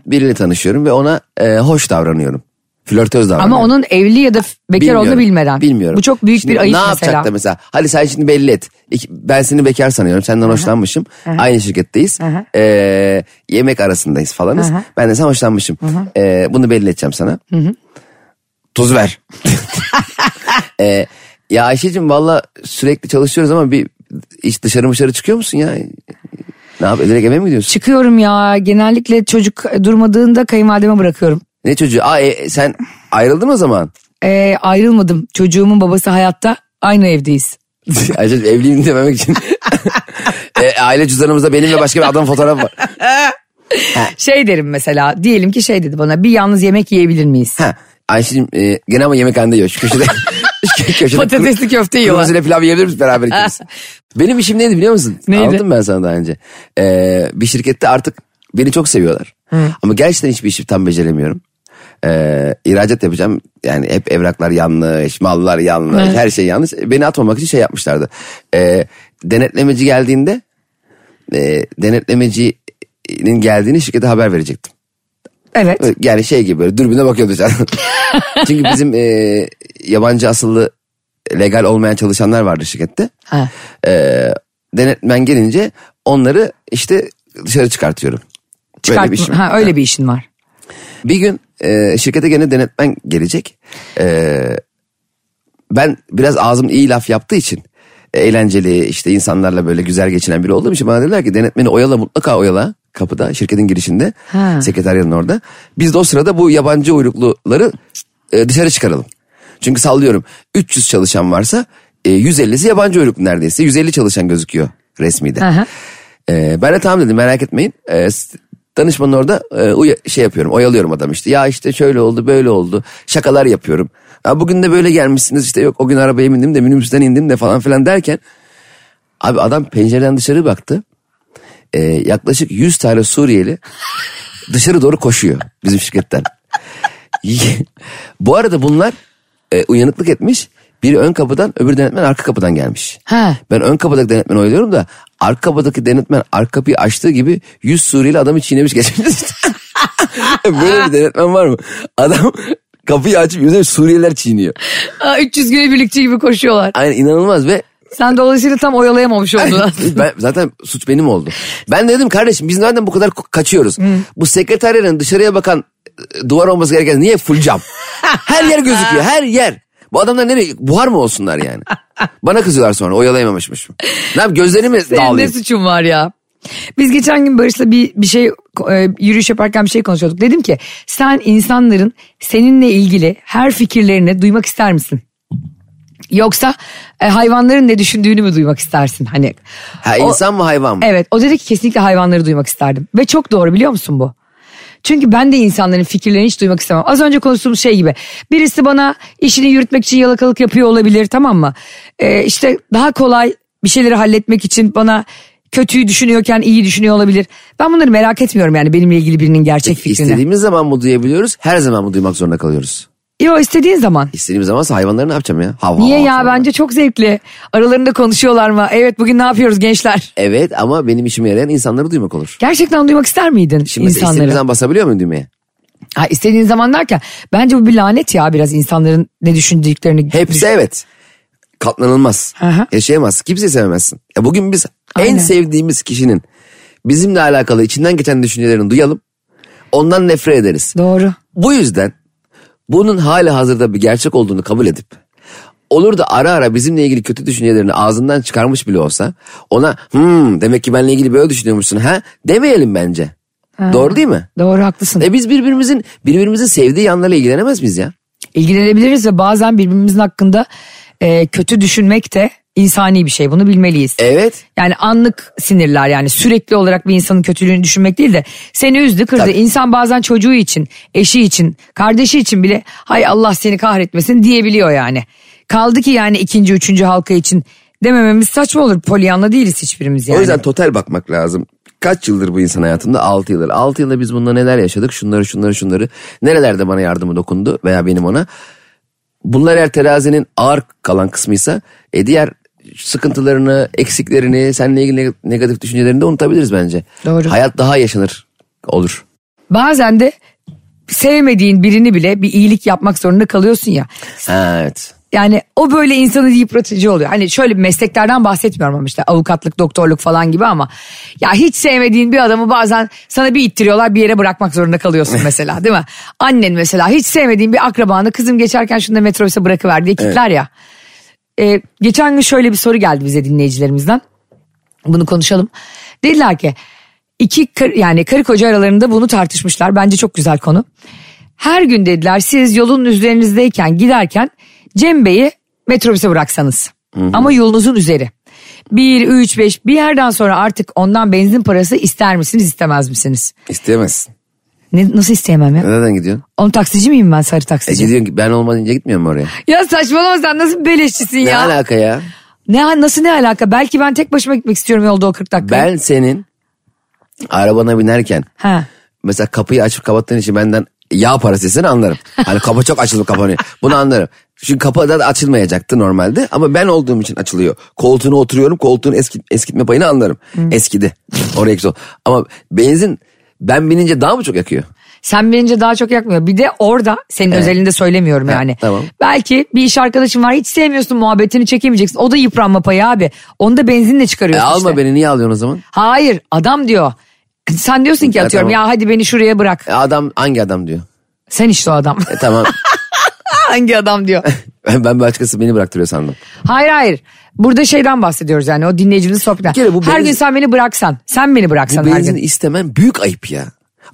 C: Biriyle tanışıyorum ve ona e, hoş davranıyorum. Flörtöz davranıyorum.
B: Ama onun evli ya da f- bekar
C: Bilmiyorum.
B: olduğunu bilmeden.
C: Bilmiyorum.
B: Bu çok büyük
C: Şimdi
B: bir ayıp
C: ne
B: mesela.
C: yapacak da mesela. Hadi sen şimdi belli et. İki- Ben seni bekar sanıyorum. Senden hoşlanmışım. Aynı şirketteyiz. Ee, yemek arasındayız falanız. Ben de sen hoşlanmışım. Ee, bunu belli edeceğim sana. Tuz ver. Ee, ya Ayşe'cim valla sürekli çalışıyoruz ama bir hiç dışarı dışarı çıkıyor musun ya? Ne yap? Direkt eve mi gidiyorsun?
B: Çıkıyorum ya genellikle çocuk durmadığında kayınvalideme bırakıyorum.
C: Ne çocuğu? Aa, e, sen ayrıldın o zaman.
B: Ee, ayrılmadım çocuğumun babası hayatta aynı evdeyiz.
C: Ayrıca evliyim dememek için. E, aile cüzdanımızda benim ve başka bir adam fotoğrafı var.
B: Şey derim mesela diyelim ki şey dedi bana bir yalnız yemek yiyebilir miyiz?
C: Ha, Ayşe'cim e, gene ama yemekhanede yiyor. Şu köşede. şu köşede
B: Patatesli köfte yiyorlar.
C: Kırmızı pilav yiyebilir miyiz beraber ikimiz? Benim işim neydi biliyor musun?
B: Neydi?
C: Anlattım ben sana daha önce. Ee, bir şirkette artık beni çok seviyorlar. Ama gerçekten hiçbir işi tam beceremiyorum. Ee, ihracat yapacağım. Yani hep evraklar yanlış, mallar yanlış, her şey yanlış. Beni atmamak için şey yapmışlardı. Ee, denetlemeci geldiğinde e, denetlemecinin geldiğini şirkete haber verecektim.
B: Evet.
C: Yani şey gibi böyle dürbüne bakıyordu canım. Çünkü bizim e, yabancı asıllı legal olmayan çalışanlar vardı şirkette.
B: Ha.
C: E, denetmen gelince onları işte dışarı çıkartıyorum. Böyle
B: Çıkart,
C: bir işim.
B: ha, öyle bir işin var.
C: Bir gün e, şirkete gene denetmen gelecek. E, ben biraz ağzım iyi laf yaptığı için e, eğlenceli işte insanlarla böyle güzel geçinen biri olduğum için bana dediler ki denetmeni oyala mutlaka oyala kapıda şirketin girişinde
B: Ha.
C: sekreteryanın orada. Biz de o sırada bu yabancı uyrukluları e, dışarı çıkaralım. Çünkü sallıyorum 300 çalışan varsa e, 150'si yabancı uyruklu neredeyse 150 çalışan gözüküyor resmide.
B: Aha.
C: Ee, ben de tamam dedim merak etmeyin. Ee, s- danışmanın orada e, uya- şey yapıyorum oyalıyorum adam işte. Ya işte şöyle oldu böyle oldu şakalar yapıyorum. Ha, bugün de böyle gelmişsiniz işte yok o gün arabaya bindim de minibüsten indim de falan filan derken. Abi adam pencereden dışarı baktı. Ee, yaklaşık 100 tane Suriyeli dışarı doğru koşuyor bizim şirketten. Bu arada bunlar e, uyanıklık etmiş. Biri ön kapıdan öbür denetmen arka kapıdan gelmiş.
B: Ha.
C: Ben ön kapıdaki denetmeni oyluyorum da arka kapıdaki denetmen arka kapıyı açtığı gibi 100 Suriyeli adamı çiğnemiş geçmiş. Böyle bir denetmen var mı? Adam kapıyı açıp yüzüne Suriyeliler çiğniyor.
B: Aa, 300 güne birlikçi gibi koşuyorlar.
C: Aynen inanılmaz ve
B: Sen dolayısıyla tam oyalayamamış oldun aslında.
C: ben, zaten suç benim oldu. Ben de dedim kardeşim biz nereden bu kadar ko- kaçıyoruz? Bu sekreterlerin dışarıya bakan e, duvar olması gereken niye full cam? Her yer gözüküyor her yer. Bu adamlar nereye buhar mı olsunlar yani? Bana kızıyorlar sonra oyalayamamışmışım. Ne yapayım gözlerimi
B: Senin ne
C: dağılayım?
B: suçun var ya? Biz geçen gün Barış'la bir, bir şey e, yürüyüş yaparken bir şey konuşuyorduk. Dedim ki sen insanların seninle ilgili her fikirlerini duymak ister misin? Yoksa e, hayvanların ne düşündüğünü mü duymak istersin? Hani
C: Ha,
B: O-
C: insan mı hayvan mı?
B: Evet o dedi ki kesinlikle hayvanları duymak isterdim. Ve çok doğru biliyor musun bu? Çünkü ben de insanların fikirlerini hiç duymak istemem. Az önce konuştuğumuz şey gibi. Birisi bana işini yürütmek için yalakalık yapıyor olabilir tamam mı? Ee, işte daha kolay bir şeyleri halletmek için bana kötüyü düşünüyorken iyi düşünüyor olabilir. Ben bunları merak etmiyorum yani benimle ilgili birinin gerçek fikrini.
C: İstediğimiz zaman mı duyabiliyoruz? Her zaman mı duymak zorunda kalıyoruz?
B: Yo istediğin zaman.
C: İstediğimiz zamansa hayvanları ne yapacağım ya? Hav, hav,
B: Niye
C: hav
B: ya
C: falan.
B: bence çok zevkli. Aralarında konuşuyorlar mı? Evet bugün ne yapıyoruz gençler?
C: Evet ama benim işime yarayan insanları duymak olur.
B: Gerçekten duymak ister miydin
C: Şimdi mesela
B: insanları?
C: istediğimiz zaman basabiliyor muyum düğmeye?
B: Ha, istediğin zaman derken bence bu bir lanet ya biraz insanların ne düşündüklerini.
C: Hepsi evet. Katlanılmaz.
B: Aha.
C: Yaşayamaz. Kimseyi sevemezsin. Ya bugün biz
B: Aynen.
C: en sevdiğimiz kişinin bizimle alakalı içinden geçen düşüncelerini duyalım. Ondan nefret ederiz.
B: Doğru.
C: Bu yüzden bunun hali hazırda bir gerçek olduğunu kabul edip olur da ara ara bizimle ilgili kötü düşüncelerini ağzından çıkarmış bile olsa ona hmm, demek ki benimle ilgili böyle düşünüyormuşsun ha demeyelim bence. Doğru değil mi?
B: Doğru haklısın.
C: E biz birbirimizin birbirimizin sevdiği yanlarıyla ilgilenemez miyiz ya?
B: İlgilenebiliriz ve bazen birbirimizin hakkında e, kötü düşünmek de insani bir şey. Bunu bilmeliyiz.
C: Evet.
B: Yani anlık sinirler yani sürekli olarak bir insanın kötülüğünü düşünmek değil de seni üzdü kırdı.
C: Tabii.
B: İnsan bazen çocuğu için, eşi için, kardeşi için bile hay Allah seni kahretmesin diyebiliyor yani. Kaldı ki yani ikinci, üçüncü halka için demememiz saçma olur. Polyanla değiliz hiçbirimiz yani.
C: O yüzden total bakmak lazım. Kaç yıldır bu insan hayatında? 6 yıldır. 6 yılda biz bununla neler yaşadık? Şunları şunları şunları. Nerelerde bana yardımı dokundu veya benim ona? Bunlar eğer terazinin ağır kalan kısmıysa e diğer sıkıntılarını, eksiklerini, seninle ilgili neg- negatif düşüncelerini de unutabiliriz bence.
B: Doğru.
C: Hayat daha yaşanır olur.
B: Bazen de sevmediğin birini bile bir iyilik yapmak zorunda kalıyorsun ya.
C: Ha, evet.
B: Yani o böyle insanı yıpratıcı oluyor. Hani şöyle bir mesleklerden bahsetmiyorum ama işte avukatlık, doktorluk falan gibi ama ya hiç sevmediğin bir adamı bazen sana bir ittiriyorlar bir yere bırakmak zorunda kalıyorsun mesela değil mi? Annen mesela hiç sevmediğin bir akrabanı kızım geçerken şunu da metrobüse bırakıver diye kitler ya. Ee, geçen gün şöyle bir soru geldi bize dinleyicilerimizden. Bunu konuşalım. Dediler ki iki kar- yani karı koca aralarında bunu tartışmışlar. Bence çok güzel konu. Her gün dediler siz yolun üzerinizdeyken giderken Cem Bey'i metrobüse bıraksanız. Ama yolunuzun üzeri. 1, 3, 5 bir yerden sonra artık ondan benzin parası ister misiniz istemez misiniz?
C: İsteyemezsin.
B: Ne, nasıl isteyemem ya?
C: Nereden gidiyorsun?
B: Onun taksici miyim ben sarı
C: E
B: taksici?
C: gidiyorsun ki ben olmadığınca gitmiyor mu oraya?
B: ya saçmalama sen nasıl bir beleşçisin
C: Ne
B: ya?
C: alaka ya?
B: Ne, nasıl ne alaka? Belki ben tek başıma gitmek istiyorum yolda o 40 dakika.
C: Ben senin arabana binerken
B: Ha.
C: mesela kapıyı açıp kapattığın için benden yağ parası istesene anlarım. Hani kapı çok açılıp kapanıyor. Bunu anlarım. Çünkü kapı da açılmayacaktı normalde ama ben olduğum için açılıyor. Koltuğuna oturuyorum koltuğun eski, eskitme payını anlarım.
B: Hmm.
C: Eskidi. Oraya güzel. Ama benzin ben binince daha mı çok yakıyor?
B: Sen bilince daha çok yakmıyor. Bir de orada senin özelinde söylemiyorum yani.
C: tamam.
B: Belki bir iş arkadaşın var hiç sevmiyorsun muhabbetini çekemeyeceksin. O da yıpranma payı abi. Onu da benzinle
C: E,
B: çıkarıyorsun
C: alma
B: işte.
C: beni niye alıyorsun o zaman?
B: Hayır adam diyor. Sen diyorsun ki
C: Ya
B: atıyorum ya,
C: tamam.
B: hadi beni şuraya bırak.
C: E, adam hangi adam diyor?
B: Sen işte o adam.
C: E, tamam
B: Hangi adam diyor.
C: ben başkası beni bıraktırıyor sandım.
B: Hayır hayır. Burada şeyden bahsediyoruz yani o dinleyicinin sohbetinden.
C: kere bu
B: her
C: benzin-
B: gün sen beni bıraksan. Sen beni bıraksan
C: Bu
B: her
C: benzin
B: gün.
C: istemen büyük ayıp ya.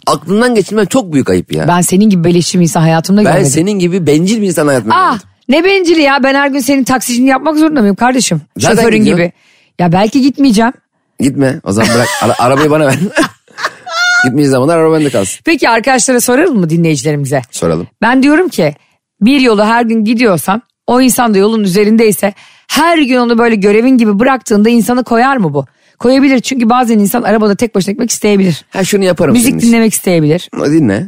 C: Aklından geçirmen çok büyük ayıp ya. Ben,
B: Ben senin gibi beleşçi bir insan hayatımda görmedim.
C: senin gibi bencil bir insan hayatımda
B: Ah
C: görmedim.
B: ne bencili ya ben her gün senin taksicini yapmak zorunda mıyım kardeşim?
C: Zaten
B: Şoförün
C: gidiyor.
B: gibi. Ya belki gitmeyeceğim.
C: Gitme o zaman bırak Ara- arabayı bana ver. Gitmeyeceği zamanlar araba bende kalsın.
B: Peki arkadaşlara soralım mı dinleyicilerimize?
C: Soralım.
B: Ben diyorum ki bir yolu her gün gidiyorsan o insan da yolun üzerindeyse her gün onu böyle görevin gibi bıraktığında insanı koyar mı bu? Koyabilir çünkü bazen insan arabada tek başına gitmek isteyebilir.
C: Ha şunu yaparım
B: Müzik
C: senin için.
B: dinlemek isteyebilir.
C: Dinle.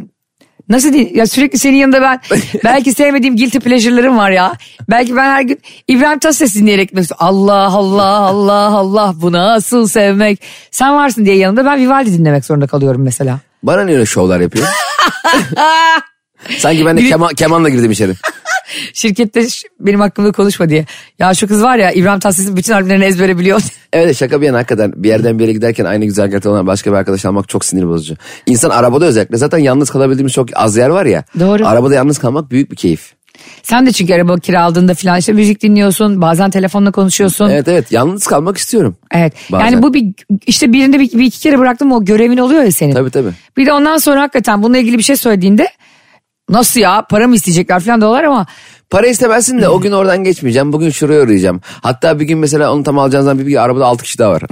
B: Nasıl değil? Ya sürekli senin yanında ben belki sevmediğim guilty pleasure'larım var ya. Belki ben her gün İbrahim Tatlıses dinleyerek mesela Allah Allah Allah Allah bu nasıl sevmek. Sen varsın diye yanımda ben Vivaldi dinlemek zorunda kalıyorum mesela.
C: Bana niye öyle şovlar yapıyor? Sanki ben de kema- kemanla girdim içeri.
B: Şirkette ş- benim hakkımda konuşma diye. Ya şu kız var ya İbrahim Tatlıses'in bütün albümlerini ezbere biliyor.
C: Evet şaka bir yana hakikaten bir yerden bir yere giderken aynı güzergahta olan başka bir arkadaş almak çok sinir bozucu. İnsan arabada özellikle zaten yalnız kalabildiğimiz çok az yer var ya.
B: Doğru.
C: Arabada yalnız kalmak büyük bir keyif.
B: Sen de çünkü araba kiraladığında filan işte müzik dinliyorsun. Bazen telefonla konuşuyorsun. Evet.
C: Evet evet yalnız kalmak istiyorum. Bazen.
B: Yani bu bir işte birinde bir, bir iki kere bıraktım o görevin oluyor ya senin.
C: Tabii tabii.
B: Bir de ondan sonra hakikaten bununla ilgili bir şey söylediğinde nasıl ya para mı isteyecekler falan diyorlar ama
C: Para istemezsin de o gün oradan geçmeyeceğim. Bugün şuraya uğrayacağım. Hatta bir gün mesela onu tam alacağın zaman bir, bir arabada 6 kişi daha var.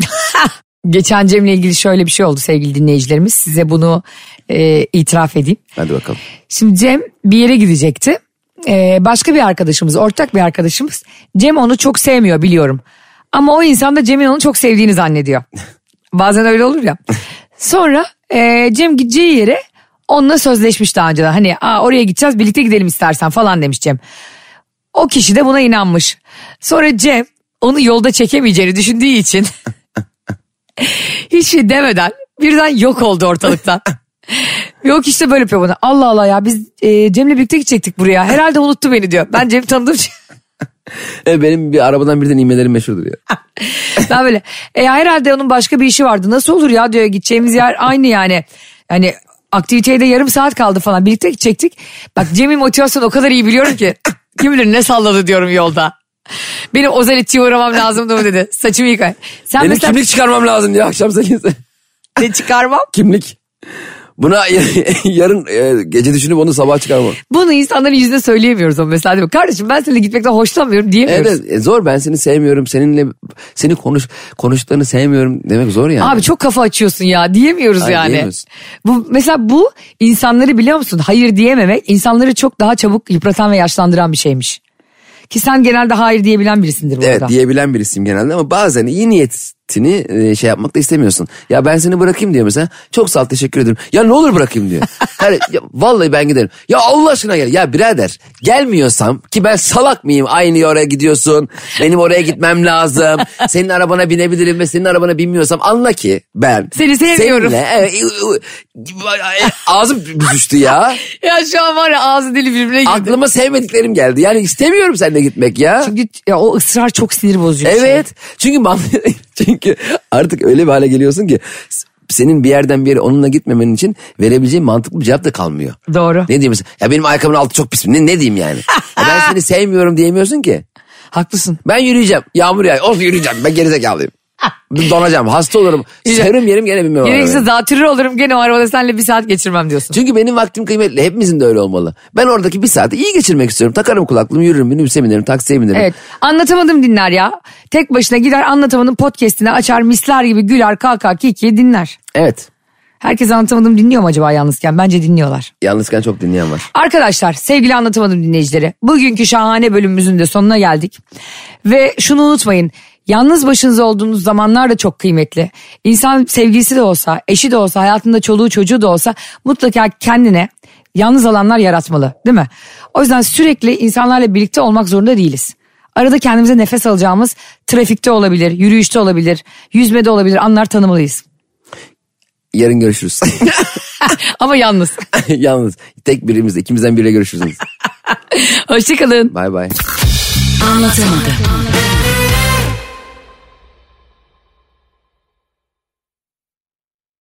B: geçen Cem'le ilgili şöyle bir şey oldu sevgili dinleyicilerimiz. Size bunu e, itiraf edeyim.
C: Hadi bakalım.
B: Şimdi Cem bir yere gidecekti. Ee, başka bir arkadaşımız, ortak bir arkadaşımız. Cem onu çok sevmiyor biliyorum. Ama o insan da Cem'in onu çok sevdiğini zannediyor. Bazen öyle olur ya. Sonra e, Cem gideceği yere onunla sözleşmiş daha önceden. Hani Aa, oraya gideceğiz birlikte gidelim istersen falan demiş Cem. O kişi de buna inanmış. Sonra Cem onu yolda çekemeyeceğini düşündüğü için hiç şey demeden birden yok oldu ortalıktan. Yok işte böyle yapıyor bana. Allah Allah ya biz e, Cem'le birlikte gidecektik buraya. Herhalde unuttu beni diyor. Ben Cem'i tanıdığım için
C: E, Benim bir arabadan birden inmelerim meşhurdur ya.
B: ben böyle. E, herhalde onun başka bir işi vardı. Nasıl olur ya diyor gideceğimiz yer aynı yani. Hani aktiviteye de yarım saat kaldı falan. Birlikte gidecektik. Bak Cem'in motivasyonu o kadar iyi biliyorum ki. Kim bilir ne salladı diyorum yolda. Benim Ozan İtçi'ye uğramam lazımdı mı dedi. Saçımı yıka. Sen
C: Benim
B: mesela
C: kimlik çıkarmam lazım diye akşam 8'de.
B: ne çıkarmam.
C: Kimlik. Buna yarın e, gece düşünüp onu sabah çıkarmam.
B: Bunu insanların yüzüne söyleyemiyoruz ama mesela. Değil mi? Kardeşim ben seninle gitmekten hoşlanmıyorum diyemiyoruz.
C: Evet e, zor ben seni sevmiyorum seninle seni konuş konuştuklarını sevmiyorum demek zor yani.
B: Abi çok kafa açıyorsun ya diyemiyoruz
C: Hayır,
B: yani.
C: diyemiyorsun.
B: Bu mesela bu insanları biliyor musun? Hayır diyememek insanları çok daha çabuk yıpratan ve yaşlandıran bir şeymiş. Ki sen genelde hayır diyebilen birisindir bu
C: Evet
B: arada.
C: diyebilen birisiyim genelde ama bazen iyi niyetini e, şey yapmak da istemiyorsun. Ya ben seni bırakayım diyor mesela. Çok sağ ol teşekkür ederim. Ya ne olur bırakayım diyor. Her, ya, vallahi ben giderim. Ya Allah aşkına gel. Ya birader gelmiyorsam ki ben salak mıyım? Aynı oraya gidiyorsun. Benim oraya gitmem lazım. Senin arabana binebilirim ve senin arabana binmiyorsam anla ki ben.
B: Seni sevmiyorum.
C: Seninle, evet, ağzım büzüştü ya.
B: Ya şu an var ya ağzı dili birbirine girdi.
C: Aklıma sevmediklerim geldi. Yani istemiyorum seninle gitmek ya.
B: Çünkü ya o ısrar çok sinir bozucu bir şey.
C: Evet. Çünkü man- çünkü artık öyle bir hale geliyorsun ki s- senin bir yerden bir yere onunla gitmemen için verebileceğin mantıklı bir cevap da kalmıyor.
B: Doğru.
C: Ne diyeyim mesela? Ya benim ayakkabımın altı çok pis. Ne, ne diyeyim yani? Ya ben seni sevmiyorum diyemiyorsun ki.
B: Haklısın.
C: Ben yürüyeceğim. Yağmur yağıyor. Of yürüyeceğim. Ben gerizekalıyım. Donacağım. Hasta olurum. Serum yerim gene bilmem. arabaya.
B: Gerekirse zatürre olurum gene o arabada seninle bir saat geçirmem diyorsun.
C: Çünkü benim vaktim kıymetli. Hepimizin de öyle olmalı. Ben oradaki bir saati iyi geçirmek istiyorum. Takarım kulaklığımı yürürüm. Minibüse binerim. Taksiye binerim.
B: Evet anlatamadım dinler ya. Tek başına gider anlatamadım podcastini açar misler gibi güler kalkar kikiye dinler.
C: evet.
B: Herkes anlatamadım dinliyor mu acaba yalnızken? Bence dinliyorlar.
C: Yalnızken çok dinleyen var.
B: Arkadaşlar sevgili anlatamadım dinleyicileri. Bugünkü şahane bölümümüzün de sonuna geldik. Ve şunu unutmayın. Yalnız başınıza olduğunuz zamanlar da çok kıymetli. İnsan sevgilisi de olsa, eşi de olsa, hayatında çoluğu çocuğu da olsa mutlaka kendine yalnız alanlar yaratmalı değil mi? O yüzden sürekli insanlarla birlikte olmak zorunda değiliz. Arada kendimize nefes alacağımız trafikte olabilir, yürüyüşte olabilir, yüzmede olabilir anlar tanımalıyız.
C: Yarın görüşürüz.
B: Ama yalnız.
C: Yalnız tek birimiz ikimizden biriyle görüşürüz.
B: Hoşçakalın.
C: Bay bay.
E: Anlatamadım.